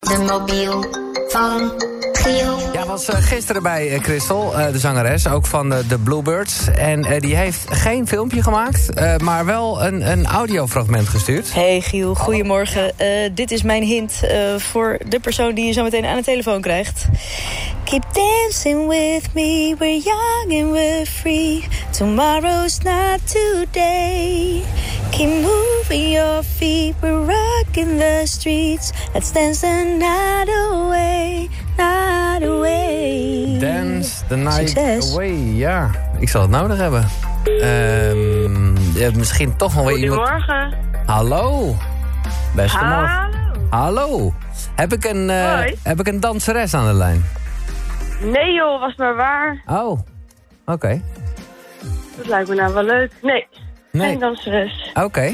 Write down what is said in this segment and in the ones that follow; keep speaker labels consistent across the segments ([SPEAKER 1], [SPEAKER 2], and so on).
[SPEAKER 1] de mobiel van Giel.
[SPEAKER 2] Ja, was eh, gisteren bij eh, Christel, eh, de zangeres, ook van eh, de Bluebirds. En eh, die heeft geen filmpje gemaakt, eh, maar wel een, een audiofragment gestuurd.
[SPEAKER 3] Hey Giel, goedemorgen. Eh, dit is mijn hint eh, voor de persoon die je zo meteen aan de telefoon krijgt. Keep dancing with me, we're young and we're free. Tomorrow's not today. Keep moving your feet, we're rocking the streets. Let's dance the night away, night away.
[SPEAKER 2] Dance the night
[SPEAKER 3] Succes.
[SPEAKER 2] away. Ja, ik zal het nodig hebben. Ehm, ja, misschien toch wel weer iemand...
[SPEAKER 4] Goedemorgen. Ah,
[SPEAKER 2] Hallo. Beste morgen.
[SPEAKER 4] Hallo.
[SPEAKER 2] Hallo. Heb ik, een, eh,
[SPEAKER 4] Hoi.
[SPEAKER 2] heb ik een danseres aan de lijn?
[SPEAKER 4] Nee joh, was maar waar.
[SPEAKER 2] Oh, oké.
[SPEAKER 4] Dat lijkt me nou wel leuk. Nee,
[SPEAKER 2] Nee.
[SPEAKER 4] geen danseres.
[SPEAKER 2] Oké.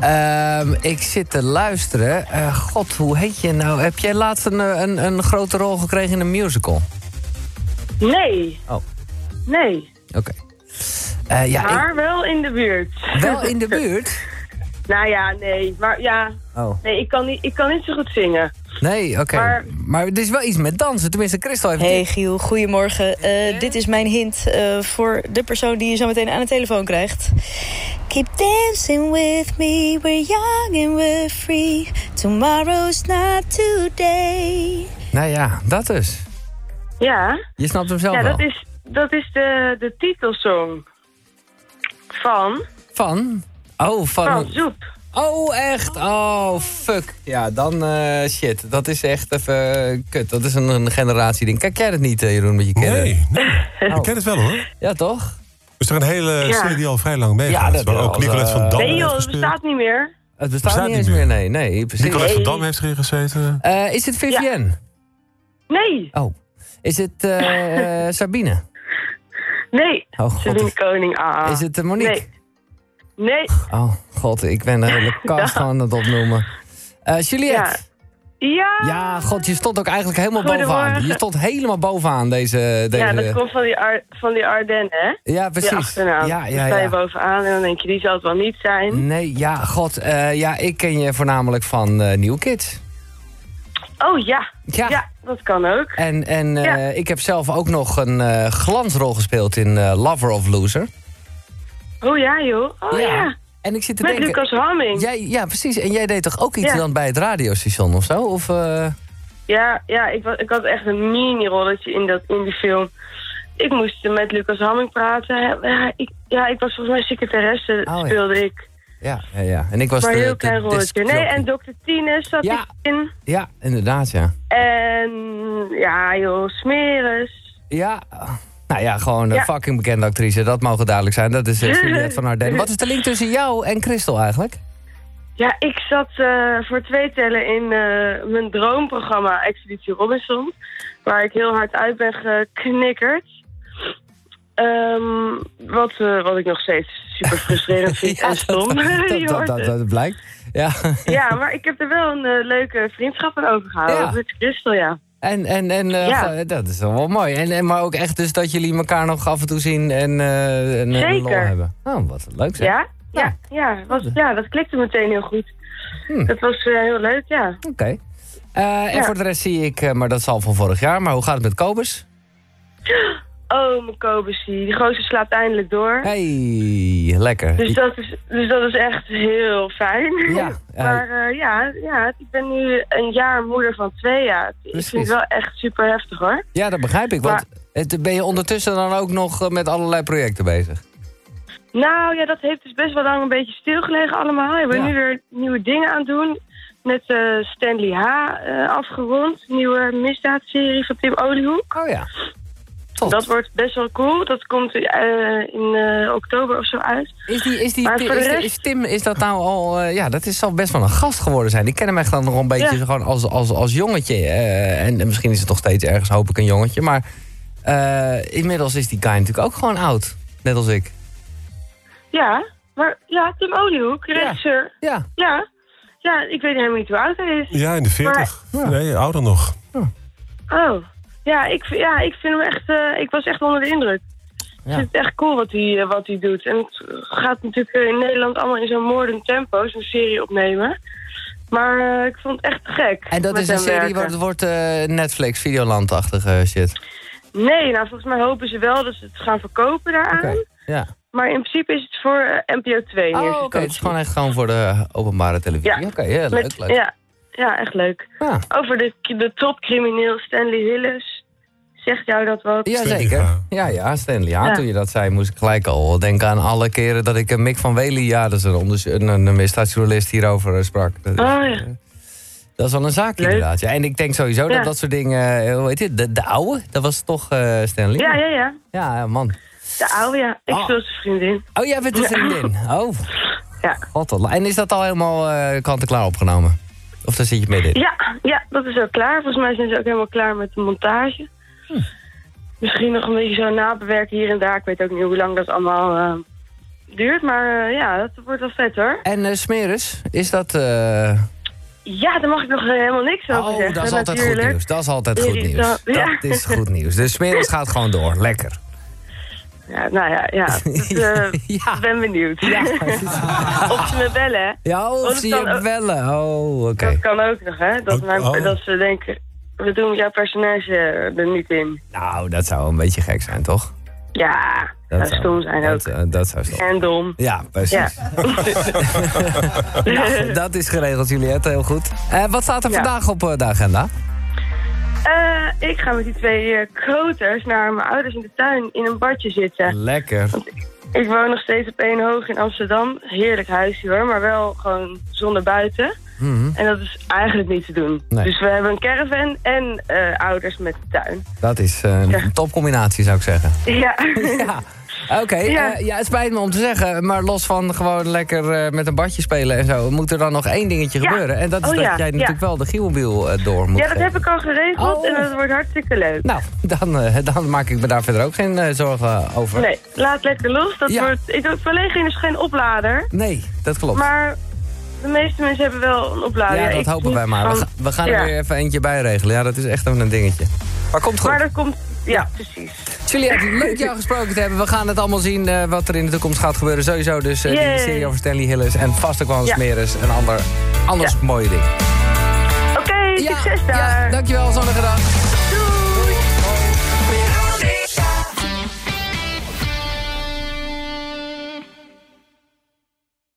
[SPEAKER 2] Ehm, ik zit te luisteren. Eh, God, hoe heet je nou? Heb jij laatst een, eh, een, een grote rol gekregen in een musical?
[SPEAKER 4] Nee,
[SPEAKER 2] Oh, oké.
[SPEAKER 4] nee.
[SPEAKER 2] Eh, ja,
[SPEAKER 4] Maar wel in de buurt.
[SPEAKER 2] ik- wel in de buurt?
[SPEAKER 4] nou ja, nee. Maar ja,
[SPEAKER 2] Oh.
[SPEAKER 4] nee, ik kan niet, ik kan niet zo goed zingen.
[SPEAKER 2] Nee, oké. Maar...
[SPEAKER 4] Maar-
[SPEAKER 2] het is wel iets met dansen. Tenminste, Christel heeft...
[SPEAKER 3] Hey Giel, goedemorgen. Eh, Dit is mijn hint eh, voor de persoon die je zo meteen aan de telefoon krijgt. Keep dancing with me, we're young and we're free. Tomorrow's not today.
[SPEAKER 2] Nou ja, dat dus.
[SPEAKER 4] Ja,
[SPEAKER 2] Je snapt hem zelf
[SPEAKER 4] ja
[SPEAKER 2] wel.
[SPEAKER 4] dat is, dat is de, de titelsong van,
[SPEAKER 2] Van? Oh, van...
[SPEAKER 4] van Zoep.
[SPEAKER 2] Oh, echt? Oh, fuck. Ja, dan eh, shit. Dat is echt even eh, kut. Dat is een, een generatieding. Kijk jij dat niet, eh, Jeroen, met je kinderen?
[SPEAKER 5] Nee, nee.
[SPEAKER 2] Oh.
[SPEAKER 5] ik ken het wel hoor.
[SPEAKER 2] Ja, toch?
[SPEAKER 5] Is er een hele serie die al vrij lang meegaat?
[SPEAKER 2] Ja, dat
[SPEAKER 5] waar
[SPEAKER 2] wel,
[SPEAKER 5] ook Nicolette
[SPEAKER 2] eh,
[SPEAKER 5] van Dam
[SPEAKER 4] Nee
[SPEAKER 5] heeft
[SPEAKER 4] joh, dat
[SPEAKER 5] gespeeld.
[SPEAKER 4] bestaat niet meer.
[SPEAKER 2] Oh, Het bestaat,
[SPEAKER 5] Bestaat
[SPEAKER 2] niet
[SPEAKER 5] niet
[SPEAKER 2] eens meer.
[SPEAKER 5] meer.
[SPEAKER 2] Nee, nee, precies.
[SPEAKER 5] Nicolette van
[SPEAKER 4] Nee.
[SPEAKER 5] Dam heeft erin gezeten.
[SPEAKER 2] Eh, is het Vivienne?
[SPEAKER 4] Nee,
[SPEAKER 2] Oh. Is het eh, eh, Sabine?
[SPEAKER 4] nee.
[SPEAKER 2] Oh, god.
[SPEAKER 4] Sabine Koning, ah.
[SPEAKER 2] Is het eh, Monique?
[SPEAKER 4] Nee. Nee,
[SPEAKER 2] Oh, god, ik ben de hele kast gewoon aan het opnoemen. Eh, Juliette?
[SPEAKER 4] ja.
[SPEAKER 2] Ja. god, je stond ook eigenlijk helemaal bovenaan.
[SPEAKER 4] Goedemorgen.
[SPEAKER 2] Je stond helemaal bovenaan deze... deze...
[SPEAKER 4] Ja, dat komt van die, Ar van die Ardennen, hè?
[SPEAKER 2] Ja,
[SPEAKER 4] Die
[SPEAKER 2] precies.
[SPEAKER 4] achternaam.
[SPEAKER 2] Ja,
[SPEAKER 4] Dan
[SPEAKER 2] ja,
[SPEAKER 4] sta je
[SPEAKER 2] ja. Mm.
[SPEAKER 4] bovenaan en dan denk je, die zal het wel niet zijn.
[SPEAKER 2] Nee, ja, god, eh, ja, ik ken je voornamelijk van eh New Kids.
[SPEAKER 4] Oh ja.
[SPEAKER 2] Ja.
[SPEAKER 4] ja, dat kan ook.
[SPEAKER 2] En, en eh,
[SPEAKER 4] Ja.
[SPEAKER 2] ik heb zelf ook nog een eh, glansrol gespeeld in eh, Lover of Loser.
[SPEAKER 4] Oh ja, joh. Oh ja.
[SPEAKER 2] En ik zit te
[SPEAKER 4] Met
[SPEAKER 2] denken...
[SPEAKER 4] Lucas Hamming. Ja.
[SPEAKER 2] Jij, ja, precies. En jij deed toch ook iets
[SPEAKER 4] Ja.
[SPEAKER 2] dan bij het radiostation of zo? Of, eh,
[SPEAKER 4] Ja, ik, wa- ik had echt een mini-rolletje in, dat- in die film. Ik moest met Lucas Hamming praten. Ja ik, ja, ik was volgens mij secretaresse,
[SPEAKER 2] Oh, ja.
[SPEAKER 4] speelde ik.
[SPEAKER 2] ja, ja, ja. En ik was
[SPEAKER 4] Maar
[SPEAKER 2] de,
[SPEAKER 4] heel
[SPEAKER 2] de
[SPEAKER 4] klein rolletje.
[SPEAKER 2] discjockey.
[SPEAKER 4] Nee, en Dr. Tines zat
[SPEAKER 2] Ja.
[SPEAKER 4] ik in.
[SPEAKER 2] Ja, inderdaad, ja.
[SPEAKER 4] En ja, joh, Smeres.
[SPEAKER 2] Ja, nou ja, gewoon een
[SPEAKER 4] Ja.
[SPEAKER 2] fucking bekende actrice. Dat mogen duidelijk zijn. Dat is eh, Juliette van Arden. Wat is de link tussen jou en Christel eigenlijk?
[SPEAKER 4] Ja, ik zat eh, voor twee tellen in eh, mijn droomprogramma Expeditie Robinson. Waar ik heel hard uit ben geknikkerd. Ehm, wat, eh, wat ik nog steeds super frustrerend vind en
[SPEAKER 2] dat,
[SPEAKER 4] stom.
[SPEAKER 2] dat,
[SPEAKER 4] Je
[SPEAKER 2] dat,
[SPEAKER 4] hoort
[SPEAKER 2] dat,
[SPEAKER 4] het.
[SPEAKER 2] dat blijkt. Ja,
[SPEAKER 4] Ja, maar ik heb er wel een eh, leuke vriendschap aan overgehouden.
[SPEAKER 2] Ja.
[SPEAKER 4] Met Christel, ja.
[SPEAKER 2] en, en, en eh,
[SPEAKER 4] Ja.
[SPEAKER 2] gewoon- dat is wel, wel mooi. En, en, maar ook echt dus dat jullie elkaar nog af en toe zien en eh een, een lol
[SPEAKER 4] Zeker.
[SPEAKER 2] hebben. Oh, wat leuk zeg.
[SPEAKER 4] Ja?
[SPEAKER 2] Ja. Hmm.
[SPEAKER 4] Ja, ja, was, ja, dat klikte meteen heel goed. Dat was eh, heel leuk, ja.
[SPEAKER 2] Oké. Eh, En
[SPEAKER 4] Ja.
[SPEAKER 2] voor de rest zie ik, eh, maar dat is al van vorig jaar, maar hoe gaat het met Kobus?
[SPEAKER 4] Oh, mijn Kobusie. Die gozer slaapt eindelijk door.
[SPEAKER 2] Hey, lekker.
[SPEAKER 4] Dus dat, is, dus dat is echt heel fijn.
[SPEAKER 2] Ja, eh.
[SPEAKER 4] maar eh, ja, ja, ik ben nu een jaar moeder van twee jaar. Ik
[SPEAKER 2] Precies.
[SPEAKER 4] vind het wel echt super heftig hoor.
[SPEAKER 2] Ja, dat begrijp ik. Want het, ben je ondertussen dan ook nog eh, met allerlei projecten bezig?
[SPEAKER 4] Nou ja, dat heeft dus best wel lang een beetje stilgelegen allemaal. Ik ben
[SPEAKER 2] Ja.
[SPEAKER 4] nu weer nieuwe dingen aan het doen. Net eh, Stanley H. eh, afgerond. Nieuwe misdaadserie van Tim Oliehoek.
[SPEAKER 2] Oh ja. Tot.
[SPEAKER 4] Dat wordt best wel cool. Dat komt eh, in eh, oktober of zo uit.
[SPEAKER 2] Is, die, is, die,
[SPEAKER 4] Maar voor de
[SPEAKER 2] is, die-
[SPEAKER 4] rest-
[SPEAKER 2] is Tim, is dat nou al... eh, ja, dat is al best wel een gast geworden zijn. Ik ken hem echt dan nog een beetje
[SPEAKER 4] Ja.
[SPEAKER 2] gewoon als, als, als jongetje. eh, en, en misschien is het nog steeds ergens, hoop ik, een jongetje. Maar eh, inmiddels is die guy natuurlijk ook gewoon oud. Net als ik.
[SPEAKER 4] Ja, maar ja, Tim Oliehoek, de
[SPEAKER 2] Ja.
[SPEAKER 4] regisseur.
[SPEAKER 2] Ja.
[SPEAKER 4] Ja. Ja, ik weet helemaal niet hoe oud hij is.
[SPEAKER 5] Ja, in de 40. Nee, ouder nog.
[SPEAKER 4] Oh. Ja, ik, v- ja, ik vind hem echt... eh, ik was echt onder de indruk.
[SPEAKER 2] Ja.
[SPEAKER 4] Ik vind het echt cool wat hij, eh, wat hij doet. En het gaat natuurlijk eh, in Nederland allemaal in zo'n moordend tempo... zo'n serie opnemen. Maar eh, ik vond het echt te gek.
[SPEAKER 2] En dat
[SPEAKER 4] met
[SPEAKER 2] is een
[SPEAKER 4] hem
[SPEAKER 2] serie
[SPEAKER 4] werken.
[SPEAKER 2] waar het wordt eh, Netflix, Videoland-achtige shit.
[SPEAKER 4] Nee, nou volgens mij hopen ze wel dat ze het gaan verkopen daaraan.
[SPEAKER 2] Ja.
[SPEAKER 4] Maar in principe is het voor eh, NPO 2
[SPEAKER 2] Oh, oké.
[SPEAKER 4] neergekomen.
[SPEAKER 2] Het is gewoon echt gewoon voor de openbare televisie.
[SPEAKER 4] Ja.
[SPEAKER 2] Oké, ja,
[SPEAKER 4] Met-
[SPEAKER 2] leuk, leuk.
[SPEAKER 4] Ja, ja, echt leuk.
[SPEAKER 2] Ja.
[SPEAKER 4] Over de, de topcrimineel Stanley Hillis. Zegt jou dat wat?
[SPEAKER 2] Jazeker.
[SPEAKER 5] Stanley,
[SPEAKER 2] Ja, ja, Stanley. Ja,
[SPEAKER 4] Ja.
[SPEAKER 2] toen je dat zei, moest ik gelijk al denken aan alle keren dat ik eh, Mick van Wely, ja, dat is een, onders- een, een misdaadjournalist, hierover eh, sprak. Dat is,
[SPEAKER 4] Oh ja.
[SPEAKER 2] dat is wel een zaak,
[SPEAKER 4] Leuk.
[SPEAKER 2] inderdaad. Ja, en ik denk sowieso
[SPEAKER 4] Ja.
[SPEAKER 2] dat dat soort dingen, eh, hoe heet dit, de, de oude, dat was toch eh, Stanley?
[SPEAKER 4] ja, ja, ja.
[SPEAKER 2] Ja, ja, man.
[SPEAKER 4] De oude, ja. Ik
[SPEAKER 2] Ah.
[SPEAKER 4] speel zijn vriendin.
[SPEAKER 2] Oh, jij bent de vriendin. Oh,
[SPEAKER 4] Ja.
[SPEAKER 2] wat een la- En is dat al helemaal eh kant-en-klaar opgenomen? Of daar zit je midden in?
[SPEAKER 4] Ja, ja, dat is al klaar. Volgens mij zijn ze ook helemaal klaar met de montage.
[SPEAKER 2] Hm.
[SPEAKER 4] Misschien nog een beetje zo nabewerken hier en daar. Ik weet ook niet hoe lang dat allemaal eh, duurt. Maar eh, ja, dat wordt wel vet hoor.
[SPEAKER 2] En eh, Smeres, is dat... eh,
[SPEAKER 4] Ja, daar mag ik nog eh, helemaal niks over
[SPEAKER 2] Oh,
[SPEAKER 4] zeggen.
[SPEAKER 2] dat is altijd
[SPEAKER 4] natuurlijk.
[SPEAKER 2] goed nieuws. Dat is altijd goed
[SPEAKER 4] Irritant.
[SPEAKER 2] nieuws.
[SPEAKER 4] Ja.
[SPEAKER 2] Dat is goed nieuws. De smeris gaat gewoon door. Lekker.
[SPEAKER 4] Ja, nou ja, ja. Dus, eh,
[SPEAKER 2] Ja.
[SPEAKER 4] ben benieuwd. of ze me bellen, hè.
[SPEAKER 2] Ja,
[SPEAKER 4] Oh,
[SPEAKER 2] of
[SPEAKER 4] dat
[SPEAKER 2] zie
[SPEAKER 4] kan
[SPEAKER 2] je
[SPEAKER 4] ook.
[SPEAKER 2] bellen. Oh, oké.
[SPEAKER 4] Dat kan ook nog, hè. Dat,
[SPEAKER 5] Oh,
[SPEAKER 4] mijn-
[SPEAKER 5] oh.
[SPEAKER 4] dat ze denken, we doen jouw personage er niet in.
[SPEAKER 2] Nou, dat zou een beetje gek zijn, toch?
[SPEAKER 4] Ja, dat,
[SPEAKER 2] zou-
[SPEAKER 4] stom zijn
[SPEAKER 2] dat,
[SPEAKER 4] ook.
[SPEAKER 2] eh, dat zou stom.
[SPEAKER 4] En dom.
[SPEAKER 2] Ja, precies.
[SPEAKER 4] Ja.
[SPEAKER 2] Nou, dat is geregeld, Juliette. Heel goed. Eh, wat staat er
[SPEAKER 4] Ja.
[SPEAKER 2] vandaag op eh, de agenda?
[SPEAKER 4] Eh, ik ga met die twee eh, koters naar mijn ouders in de tuin in een badje zitten.
[SPEAKER 2] Lekker.
[SPEAKER 4] Ik woon nog steeds op één hoog in Amsterdam. Heerlijk huisje hoor, maar wel gewoon zonder buiten. En dat is eigenlijk niet te doen.
[SPEAKER 2] Mhm. Nee.
[SPEAKER 4] Dus we hebben een caravan en eh, ouders met de tuin.
[SPEAKER 2] Dat is eh, een topcombinatie, zou ik zeggen.
[SPEAKER 4] Ja,
[SPEAKER 2] Ja. Oké, eh, ja.
[SPEAKER 4] Ja.
[SPEAKER 2] het spijt me om te zeggen, maar los van gewoon lekker eh, met een badje spelen en zo, moet er dan nog één dingetje
[SPEAKER 4] Ja.
[SPEAKER 2] gebeuren. En dat is
[SPEAKER 4] Oh
[SPEAKER 2] dat
[SPEAKER 4] ja,
[SPEAKER 2] jij
[SPEAKER 4] ja.
[SPEAKER 2] natuurlijk wel de Gielmobiel eh, door moet
[SPEAKER 4] ja dat
[SPEAKER 2] geven.
[SPEAKER 4] heb ik al geregeld
[SPEAKER 2] Oh.
[SPEAKER 4] en dat wordt hartstikke leuk.
[SPEAKER 2] Nou, dan, eh, dan maak ik me daar verder ook geen eh, zorgen over.
[SPEAKER 4] Nee, laat lekker los. Dat
[SPEAKER 2] Ja.
[SPEAKER 4] wordt, ik heb verlegen is dus geen oplader,
[SPEAKER 2] Nee, dat klopt.
[SPEAKER 4] maar de meeste mensen hebben wel een oplader.
[SPEAKER 2] ja, dat
[SPEAKER 4] Ik
[SPEAKER 2] hopen
[SPEAKER 4] niet
[SPEAKER 2] wij maar. We,
[SPEAKER 4] van-
[SPEAKER 2] ga- we gaan
[SPEAKER 4] Ja.
[SPEAKER 2] er weer even eentje bij regelen. Ja, dat is echt even een dingetje. Maar komt goed.
[SPEAKER 4] Maar dat komt, ja, precies.
[SPEAKER 2] Juliette, leuk jou gesproken te hebben. We gaan het allemaal zien eh, wat er in de toekomst gaat gebeuren. Sowieso dus eh, die
[SPEAKER 4] Yay.
[SPEAKER 2] serie over Stanley Hillis en vast ook wel een
[SPEAKER 4] Ja.
[SPEAKER 2] smeris en ander, anders mooie ding.
[SPEAKER 4] Oké, succes daar.
[SPEAKER 2] Ja, dankjewel, zonnige dag.